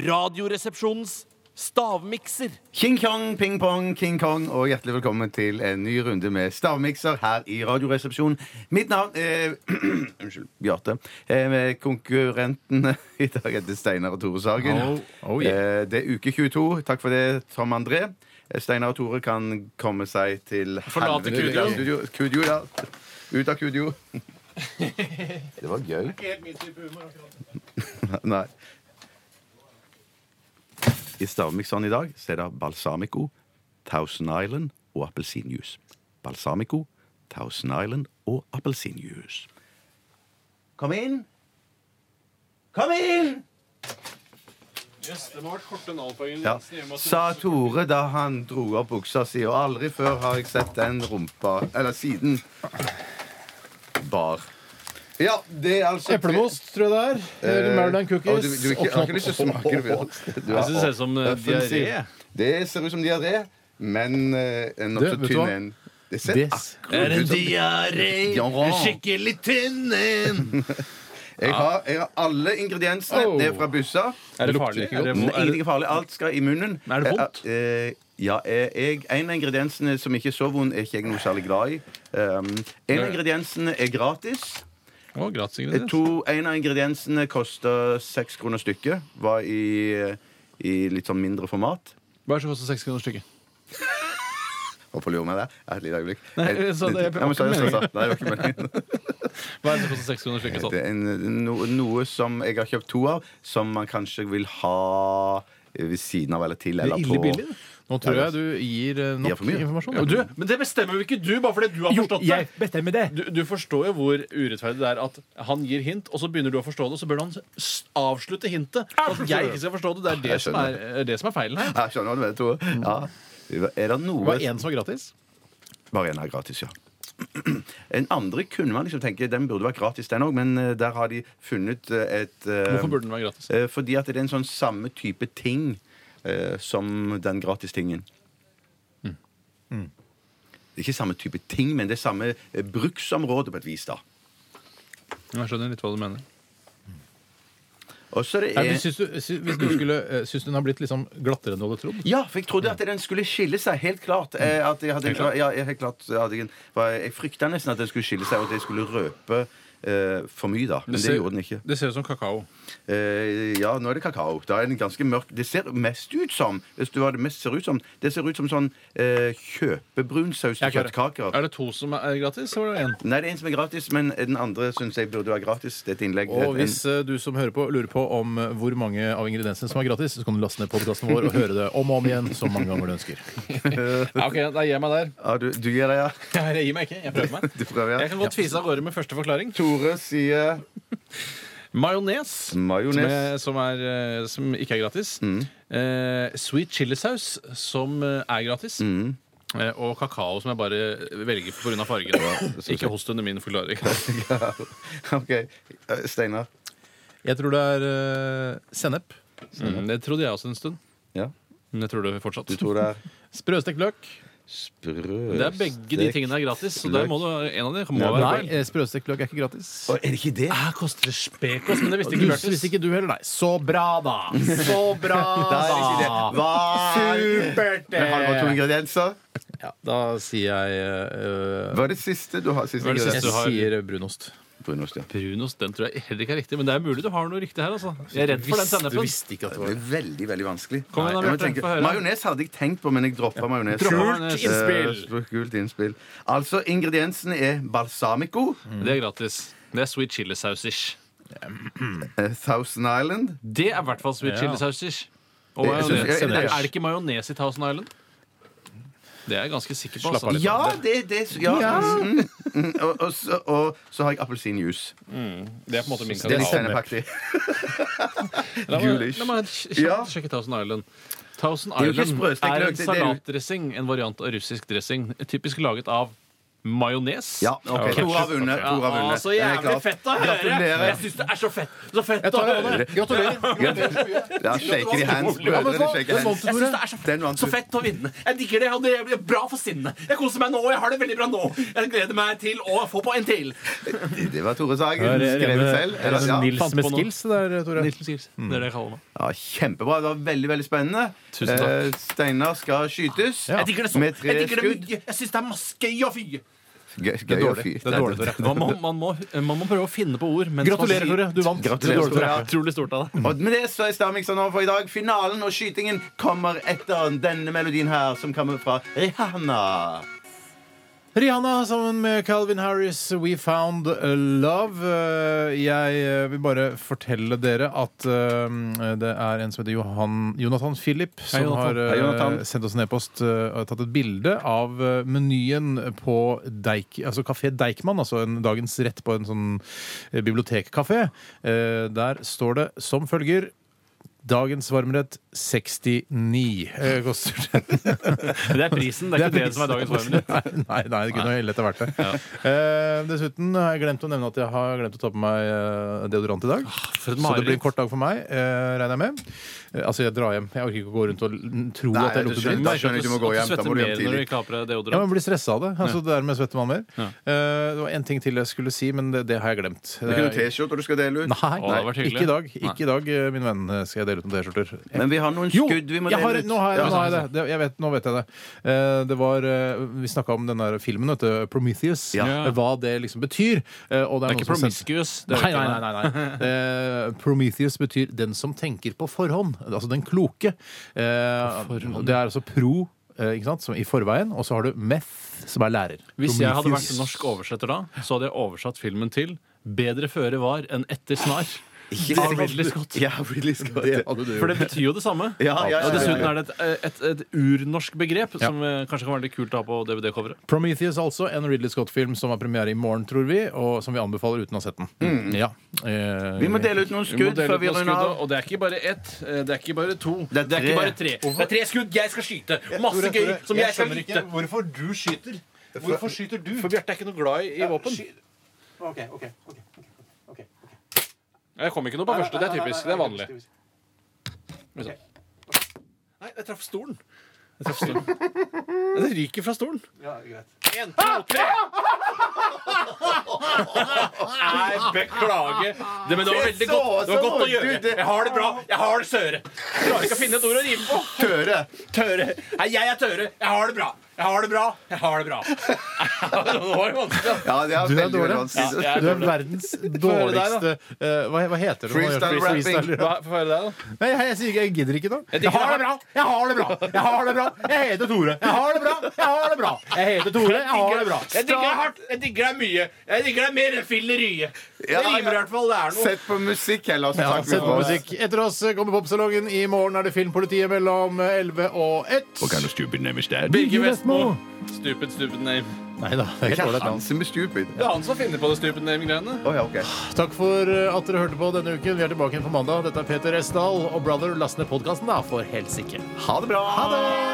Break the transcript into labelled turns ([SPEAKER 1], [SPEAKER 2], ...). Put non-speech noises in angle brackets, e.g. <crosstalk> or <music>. [SPEAKER 1] Radioresepsjonens stavmikser.
[SPEAKER 2] King Kong, Ping Pong, King Kong, og hjertelig velkommen til en ny runde med stavmikser her i Radioresepsjonen. Mitt navn er <clears throat> Unnskyld, Bjarte. Eh, med konkurrentene <laughs> i dag heter Steinar og Tore Sagen.
[SPEAKER 3] Oh, oh yeah.
[SPEAKER 2] Eh, det er uke 22. Takk for det, Tom André. Eh, Steinar og Tore kan komme seg til
[SPEAKER 1] Forlate
[SPEAKER 2] helvete ut av
[SPEAKER 1] kudio.
[SPEAKER 2] studio. Kudio, ja. Ut av kudio. Det var gøy. <laughs> Nei. I stavmikseren i dag så er det balsamico, Thousand Island og appelsinjuice. Balsamico, Thousand Island og appelsinjuice. Kom inn! Kom inn!
[SPEAKER 1] det må ha vært korte navnpoeng.
[SPEAKER 2] Ja. Sa Tore da han dro opp buksa si, og aldri før har jeg sett den rumpa Eller siden bar. Ja, det er altså
[SPEAKER 3] <laughs> Eplemost, tror jeg det er. Eller Maryland
[SPEAKER 2] Eh, Ja, du, du,
[SPEAKER 3] Cookies.
[SPEAKER 2] du, ikke- jeg har ikke lyst til å
[SPEAKER 3] <laughs>
[SPEAKER 2] smake det. Bjørn. Du
[SPEAKER 1] Jeg synes det ser ut som eh,
[SPEAKER 2] Øffen sier-
[SPEAKER 1] diaré.
[SPEAKER 2] Det ser ut som diaré, men eh,
[SPEAKER 3] Du,
[SPEAKER 2] en nokså
[SPEAKER 3] vet du
[SPEAKER 2] tynn
[SPEAKER 3] hva?
[SPEAKER 2] en. Det ser
[SPEAKER 3] Det
[SPEAKER 2] akkurat
[SPEAKER 1] Er en
[SPEAKER 2] ut som-
[SPEAKER 1] diaré,
[SPEAKER 2] Ja.
[SPEAKER 1] skikkelig tynn en.
[SPEAKER 2] jeg, har, jeg har alle ingrediensene.
[SPEAKER 3] Oh.
[SPEAKER 2] Det er fra bussa.
[SPEAKER 1] Er det
[SPEAKER 3] lukter
[SPEAKER 1] farlig?
[SPEAKER 3] ikke
[SPEAKER 1] Er det,
[SPEAKER 2] Nei,
[SPEAKER 1] er det,
[SPEAKER 2] Ingenting er farlig. Alt skal i munnen.
[SPEAKER 1] Men er det vondt?
[SPEAKER 2] Eh, eh, ja, eh, jeg, en av ingrediensene som ikke er så vond, er ikke jeg noe særlig glad i. Um, en av ingrediensene er gratis.
[SPEAKER 1] å, gratis
[SPEAKER 2] Eh,
[SPEAKER 1] ingrediens.
[SPEAKER 2] To, en av ingrediensene koster seks kroner stykket. Var i, eh, i litt sånn mindre format.
[SPEAKER 1] Hva er det som koster seks kroner stykket?
[SPEAKER 2] Hvorfor lurer meg det? Et lite øyeblikk.
[SPEAKER 1] Nei, jeg sa det, jeg-
[SPEAKER 2] Ja, men sorry, sorry, sorry. Nei, det var ikke meningen.
[SPEAKER 1] Hva er det som koster seks kroner stykket?
[SPEAKER 2] Det
[SPEAKER 1] sånn?
[SPEAKER 2] er en, no, noe som jeg har kjøpt to av, som man kanskje vil ha ved siden av eller til. Eller
[SPEAKER 1] ille
[SPEAKER 2] på.
[SPEAKER 1] billig, det.
[SPEAKER 3] Nå tror jeg du gir eh,
[SPEAKER 2] Ja,
[SPEAKER 3] nok
[SPEAKER 2] for mye.
[SPEAKER 3] informasjon.
[SPEAKER 1] Og Du, men det bestemmer jo ikke du, bare fordi du har forstått det.
[SPEAKER 3] bestemmer det.
[SPEAKER 1] Du, du forstår jo hvor urettferdig det er at han gir hint, og så begynner du å forstå det, og så bør han s- avslutte hintet. At jeg ikke skal forstå det. Det er det,
[SPEAKER 2] Jeg
[SPEAKER 1] som er, er det som er feilen her.
[SPEAKER 2] Jeg skjønner hva du mener, Tore.
[SPEAKER 1] Mm.
[SPEAKER 2] Ja. Er det
[SPEAKER 3] Det
[SPEAKER 2] noe
[SPEAKER 3] var én som var gratis.
[SPEAKER 2] Bare en er gratis, ja. En andre kunne man liksom tenke den burde vært gratis, den òg, men eh, der har de funnet eh, et eh,
[SPEAKER 1] Hvorfor burde den være gratis?
[SPEAKER 2] eh, Fordi at det er en sånn samme type ting eh, som den gratistingen. Mm. Det er ikke samme type ting, men det er samme eh, bruksområde på et vis, da.
[SPEAKER 1] Jeg skjønner litt hva du mener.
[SPEAKER 2] Og så er det eh,
[SPEAKER 3] Nei, men
[SPEAKER 2] en-
[SPEAKER 3] syns du, sy- hvis du skulle, eh, syns du den har blitt liksom glattere enn du hadde trodd?
[SPEAKER 2] Ja, for jeg trodde at den skulle skille seg. Helt klart. eh, At jeg hadde, ja, jeg- helt klart så hadde jeg, en- var- jeg frykta nesten at den skulle skille seg, og at jeg skulle røpe eh, for mye, da. Men det, gjorde den ikke.
[SPEAKER 1] Det ser ut som kakao.
[SPEAKER 2] Eh, ja, nå er det kakao. Da er den ganske mørk. Det ser mest ut som Hvis du hva det mest ser ut som Det ser ut som sånn eh, kjøpebrun saus til
[SPEAKER 1] Jeg klarer.
[SPEAKER 2] kjøttkaker.
[SPEAKER 1] Er det to som er gratis, eller var det én?
[SPEAKER 2] Nei, det er en som er gratis, men den andre syns jeg burde være gratis. Det er et innlegg.
[SPEAKER 3] Og
[SPEAKER 2] En-
[SPEAKER 3] hvis eh, du som hører på lurer på om eh, hvor mange av ingrediensene som er gratis, så kan du laste ned podkasten vår og høre det om og om igjen så mange ganger du ønsker.
[SPEAKER 1] <laughs> Ja, ok, da gir jeg meg der.
[SPEAKER 2] ja, du, du gir deg, ja?
[SPEAKER 1] Jeg gir meg ikke. Jeg prøver meg.
[SPEAKER 2] Du prøver,
[SPEAKER 1] Jeg
[SPEAKER 2] ja?
[SPEAKER 1] kan godt fise av gårde med første forklaring.
[SPEAKER 2] Tore sier
[SPEAKER 1] Majones. Som,
[SPEAKER 2] majones.
[SPEAKER 1] er- som, er, eh, som ikke er gratis.
[SPEAKER 3] Mm.
[SPEAKER 1] Eh, sweet chilisaus, som eh, er gratis.
[SPEAKER 3] Mm.
[SPEAKER 1] Eh, og kakao, som jeg bare velger pga. fargen. ikke host under min forklaring.
[SPEAKER 3] <laughs>
[SPEAKER 2] OK. Eh, Steinar.
[SPEAKER 3] Jeg tror det er eh, sennep,
[SPEAKER 1] Mm, det trodde jeg også en stund.
[SPEAKER 2] Ja.
[SPEAKER 1] Men jeg tror det fortsatt.
[SPEAKER 2] Du tror det er
[SPEAKER 3] sprøstekt løk
[SPEAKER 2] sprø
[SPEAKER 1] Det er Begge de tingene er gratis, så der må du, en av de må
[SPEAKER 2] Nei,
[SPEAKER 1] være
[SPEAKER 3] Nei,
[SPEAKER 1] feil.
[SPEAKER 3] eh, sprøstekt løk er ikke gratis.
[SPEAKER 2] Å, Er det ikke det?
[SPEAKER 1] Her koster det spekos, men det visste
[SPEAKER 3] Du,
[SPEAKER 1] ikke Ah,
[SPEAKER 3] hvis
[SPEAKER 1] Bjørtis.
[SPEAKER 3] ikke du heller, nei. Så bra, da! Så bra,
[SPEAKER 2] Nei, det er ikke det.
[SPEAKER 3] da!
[SPEAKER 2] Hva?
[SPEAKER 3] Supert!
[SPEAKER 2] Men har det bare to ingredienser?
[SPEAKER 3] Ja, da sier jeg eh,
[SPEAKER 2] Hva er det siste du har? Siste
[SPEAKER 1] Hva er det
[SPEAKER 3] Jeg
[SPEAKER 1] siste?
[SPEAKER 2] ingrediens?
[SPEAKER 1] du har-
[SPEAKER 3] sier brunost.
[SPEAKER 2] Brunost, ja.
[SPEAKER 1] Brunost, den tror jeg heller ikke er riktig, men det er mulig du har noe riktig her. altså Jeg er redd for den sennepen.
[SPEAKER 3] ikke at
[SPEAKER 2] Det blir veldig veldig vanskelig.
[SPEAKER 1] Kom igjen, da,
[SPEAKER 2] Jeg må
[SPEAKER 1] Bjarte,
[SPEAKER 2] tenke-
[SPEAKER 1] få høre.
[SPEAKER 2] Majones hadde jeg tenkt på, men jeg droppa majones.
[SPEAKER 1] Droppa majones.
[SPEAKER 2] Eh, kult innspill. Altså, ingrediensene er balsamico,
[SPEAKER 1] Det er gratis. Det er sweet chilisaus-ish.
[SPEAKER 2] eh, Thousand Island
[SPEAKER 1] Det er i hvert fall sweet
[SPEAKER 3] Ja.
[SPEAKER 1] chilisaus-ish. Og
[SPEAKER 2] Jeg synes-
[SPEAKER 1] majones.
[SPEAKER 2] jeg-
[SPEAKER 1] Er
[SPEAKER 2] jeg-
[SPEAKER 1] det ikke majones i Thousand Island? Det er jeg ganske sikker på.
[SPEAKER 3] Slapp
[SPEAKER 1] Altså.
[SPEAKER 3] av litt.
[SPEAKER 2] Ja, det det, ja. Mm, mm, og, og, så, og så har jeg appelsinjuice.
[SPEAKER 1] Det er på en måte min
[SPEAKER 2] Det er litt
[SPEAKER 1] kanal.
[SPEAKER 2] sennepaktig.
[SPEAKER 1] <laughs> La meg,
[SPEAKER 2] gulish.
[SPEAKER 1] la meg kj-
[SPEAKER 2] Ja.
[SPEAKER 1] kjapt sjekke Thousand Island. Thousand
[SPEAKER 2] er jo ikke
[SPEAKER 1] Island
[SPEAKER 2] sprøstekt
[SPEAKER 1] er
[SPEAKER 2] løk,
[SPEAKER 1] en
[SPEAKER 2] det- det er jo-
[SPEAKER 1] salatdressing, en variant av russisk dressing. Typisk laget av Majones.
[SPEAKER 2] Ja, ok.
[SPEAKER 1] Og
[SPEAKER 2] To
[SPEAKER 1] ketchup.
[SPEAKER 2] har vunnet, to har
[SPEAKER 1] Ja,
[SPEAKER 2] vunnet.
[SPEAKER 1] Så
[SPEAKER 2] Den er
[SPEAKER 1] jævlig
[SPEAKER 2] klar.
[SPEAKER 1] fett å høre!
[SPEAKER 2] Gratulerer.
[SPEAKER 1] Jeg syns det er så fett, så fett
[SPEAKER 3] Jeg
[SPEAKER 1] å
[SPEAKER 3] tar det,
[SPEAKER 1] høre!
[SPEAKER 3] Anne. Gratulerer.
[SPEAKER 2] Ja, shaker de hands.
[SPEAKER 3] Ja, men
[SPEAKER 2] Brødrene
[SPEAKER 3] hva?
[SPEAKER 2] shaker
[SPEAKER 3] Den vant
[SPEAKER 2] hands.
[SPEAKER 3] du,
[SPEAKER 1] Jeg synes det
[SPEAKER 3] Tore.
[SPEAKER 1] er så
[SPEAKER 2] Den vant
[SPEAKER 1] fett, så
[SPEAKER 2] du.
[SPEAKER 1] fett å vinne. Jeg digger det. og Det blir bra for sinnet. Jeg koser meg nå, og jeg har det veldig bra nå. Jeg gleder meg til å få på en til.
[SPEAKER 2] Det var Tore Sagen. Skrevet selv. Eller, ja.
[SPEAKER 1] Fant
[SPEAKER 3] Nils med
[SPEAKER 1] på noe.
[SPEAKER 3] skills det der, Tore.
[SPEAKER 1] Det er det jeg kaller meg.
[SPEAKER 2] ja, Kjempebra. Det var veldig veldig spennende.
[SPEAKER 1] Tusen takk.
[SPEAKER 2] Eh, Steinar skal skytes
[SPEAKER 1] Jeg digger det så
[SPEAKER 2] med tre
[SPEAKER 1] Jeg digger det
[SPEAKER 2] skudd.
[SPEAKER 1] mye. Jeg syns det er masse gøy å fy.
[SPEAKER 2] Gøy, gøy å fy.
[SPEAKER 3] Det er dårlig, Tore.
[SPEAKER 1] Man må, man, må, man må prøve å finne på ord. sånn mens man
[SPEAKER 3] Gratulerer,
[SPEAKER 1] sier-
[SPEAKER 3] Tore. Du vant.
[SPEAKER 2] Gratulerer,
[SPEAKER 3] Det er dårlig, Tore.
[SPEAKER 2] Tore.
[SPEAKER 1] Utrolig stort av deg.
[SPEAKER 2] Og med det så er Stavmikseren over for i dag. Finalen og skytingen kommer etter denne melodien her, som kommer fra Rihanna.
[SPEAKER 3] Rihanna sammen med Calvin Harris, We Found Love. Eh, Jeg eh, vil bare fortelle dere at eh, det er en som heter Johan, Jonathan Philip, som
[SPEAKER 1] Jonathan.
[SPEAKER 3] har eh,
[SPEAKER 2] Hei, Jonathan.
[SPEAKER 3] sendt oss en e-post eh, og tatt et bilde av eh, menyen på Deik, altså Kafé Deichman, altså en dagens rett på en sånn eh, bibliotekkafé. Eh, Der står det som følger Dagens varmrett 69 eh, koster den.
[SPEAKER 1] Det er prisen. Det er ikke det, som er dagens varmrett.
[SPEAKER 3] Nei, <laughs> nei, nei, det kunne jo lett ha vært det. Eh, dessuten har jeg glemt å nevne at jeg har glemt å ta på meg eh, deodorant i dag.
[SPEAKER 1] Ah, for et
[SPEAKER 3] Så det blir
[SPEAKER 1] mareritt.
[SPEAKER 3] en kort dag for meg, eh, regner jeg med. Eh, altså, jeg drar hjem. Jeg orker ikke å gå rundt og l- tro
[SPEAKER 2] Nei,
[SPEAKER 3] at jeg
[SPEAKER 2] du
[SPEAKER 3] lukter
[SPEAKER 2] skjønner.
[SPEAKER 3] dritt.
[SPEAKER 2] Da skjønner jeg du må gå hjem. Da må
[SPEAKER 1] At
[SPEAKER 2] du hjem
[SPEAKER 1] du svetter mer når du
[SPEAKER 2] tidlig.
[SPEAKER 1] ikke har på deg
[SPEAKER 3] Ja, men
[SPEAKER 1] deodorant.
[SPEAKER 3] jeg blir stressa av det. Altså, Dermed svetter man mer. Eh, det var én ting til jeg skulle si, men det, det har jeg glemt. Eh,
[SPEAKER 2] Det er ikke noen T-skjorter du skal dele ut.
[SPEAKER 3] Nei,
[SPEAKER 1] Å, det hadde vært hyggelig.
[SPEAKER 3] ikke i dag. Ikke i dag, eh, min venn, eh, skal jeg dele ut noen T-skjorter.
[SPEAKER 2] Men vi har noen
[SPEAKER 3] Jo,
[SPEAKER 2] skudd vi må
[SPEAKER 3] jeg har,
[SPEAKER 2] dele ut.
[SPEAKER 3] nå har jeg,
[SPEAKER 2] Ja.
[SPEAKER 3] nå har jeg det. det jeg vet, nå vet jeg det. Eh, det var, eh, vi snakka om den der filmen, vet du, Prometheus.
[SPEAKER 1] Ja.
[SPEAKER 3] Eh, Hva det liksom betyr. Eh, og
[SPEAKER 1] Det er
[SPEAKER 3] det, er noen
[SPEAKER 1] ikke
[SPEAKER 3] som sendte-
[SPEAKER 1] promiscuous. det
[SPEAKER 3] Nei,
[SPEAKER 1] er
[SPEAKER 3] nei,
[SPEAKER 1] ikke det.
[SPEAKER 3] nei. nei, nei. Eh, Prometheus betyr 'den som tenker på forhånd'. Altså den kloke. Eh,
[SPEAKER 1] forhånd.
[SPEAKER 3] det er altså pro eh, ikke sant, som i forveien, og så har du meth, som er lærer.
[SPEAKER 1] Hvis jeg hadde vært
[SPEAKER 3] Prometheus.
[SPEAKER 1] norsk oversetter da, så hadde jeg oversatt filmen til 'Bedre føre var enn etter snar'.
[SPEAKER 2] Ikke
[SPEAKER 1] Av Ridley Scott.
[SPEAKER 2] <laughs> Ja, Ridley Scott.
[SPEAKER 3] Det hadde du
[SPEAKER 1] For
[SPEAKER 3] gjort.
[SPEAKER 1] det betyr jo det samme.
[SPEAKER 2] Ja, ja, ja,
[SPEAKER 1] Og dessuten
[SPEAKER 2] ja,
[SPEAKER 1] er det et, et, et urnorsk begrep som eh, kanskje kan være litt kult å ha på DVD-coveret.
[SPEAKER 3] Prometheus altså, en Ridley Scott-film som har premiere i morgen, tror vi, og som vi anbefaler uten å ha sett den. Mm. Ja. Eh,
[SPEAKER 2] Mm. Vi må dele ut noen
[SPEAKER 1] Vi må
[SPEAKER 2] skudd
[SPEAKER 1] dele
[SPEAKER 2] før
[SPEAKER 1] ut
[SPEAKER 2] vi
[SPEAKER 1] noen
[SPEAKER 2] runder
[SPEAKER 1] skudd,
[SPEAKER 2] av.
[SPEAKER 1] og det er ikke bare ett, eh, det er ikke bare to.
[SPEAKER 2] Det er
[SPEAKER 1] ikke
[SPEAKER 2] tre.
[SPEAKER 1] bare tre. Det er tre skudd jeg skal skyte! Masse
[SPEAKER 3] Tore,
[SPEAKER 1] gøy
[SPEAKER 3] Tore,
[SPEAKER 1] som
[SPEAKER 3] jeg
[SPEAKER 1] jeg skal
[SPEAKER 3] skjønner
[SPEAKER 1] lytte.
[SPEAKER 3] Hvorfor du skyter? Hvorfor skyter du?
[SPEAKER 1] For Bjarte er ikke noe glad i, i våpen. Jeg kom ikke noe på første. Det er typisk. Det er vanlig. Men sånn. Nei, jeg traff stolen. Jeg traff stolen. Det ryker fra stolen. En, to, tre! Nei, beklager. Det, men det var veldig godt. Det var godt å gjøre. Jeg har det bra. Jeg har det søre. Jeg Klarer ikke å finne et ord å rime på.
[SPEAKER 2] Tøre.
[SPEAKER 1] Tøre. Nei, jeg er tøre. Jeg har det bra. Jeg har det bra. Jeg har det bra. <laughs> Det var jo vanskelig. altså.
[SPEAKER 2] Ja, det er
[SPEAKER 3] Du er dårlig.
[SPEAKER 2] veldig veldig vanskelig.
[SPEAKER 1] Ja, jeg
[SPEAKER 3] Du
[SPEAKER 1] er
[SPEAKER 3] er
[SPEAKER 2] <laughs>
[SPEAKER 3] verdens dårligste eh, hva, hva heter det? når man gjør
[SPEAKER 2] Freestyle
[SPEAKER 3] free- freestyle, ja.
[SPEAKER 1] Få høre deg, da.
[SPEAKER 3] Nei, jeg, jeg, sier ikke- jeg gidder ikke, da.
[SPEAKER 1] Jeg har det bra.
[SPEAKER 3] Jeg har det bra! Jeg har det bra! Jeg heter Tore. Jeg har det bra! Jeg har det bra! Jeg heter Tore. Jeg har det bra.
[SPEAKER 1] Jeg digger deg hardt. Jeg digger deg mye. Jeg digger deg mer enn filleriet. Det
[SPEAKER 2] Ja,
[SPEAKER 1] rimer i
[SPEAKER 2] ja.
[SPEAKER 1] hvert fall. Det er noe.
[SPEAKER 2] Sett på musikk heller, så
[SPEAKER 3] Ja,
[SPEAKER 2] takker vi
[SPEAKER 3] sett på
[SPEAKER 2] for oss.
[SPEAKER 3] musikk. Etter oss kommer Popsalongen. I morgen er det Filmpolitiet mellom 11 og 1.
[SPEAKER 1] Birger Vestmo. Stupid, stupid name.
[SPEAKER 3] Nei da. Det er ikke
[SPEAKER 2] Hva er
[SPEAKER 3] ålreit, da.
[SPEAKER 2] han som er stupid?
[SPEAKER 1] Det er han som finner på det stupid name-greiene.
[SPEAKER 2] Å ja, ok.
[SPEAKER 3] Takk for eh, at dere hørte på denne uken. Vi er tilbake igjen på mandag. Dette er Peter Esdal og Brother. Last ned podkasten, da, for helsike.
[SPEAKER 2] Ha det bra.
[SPEAKER 3] Ha det!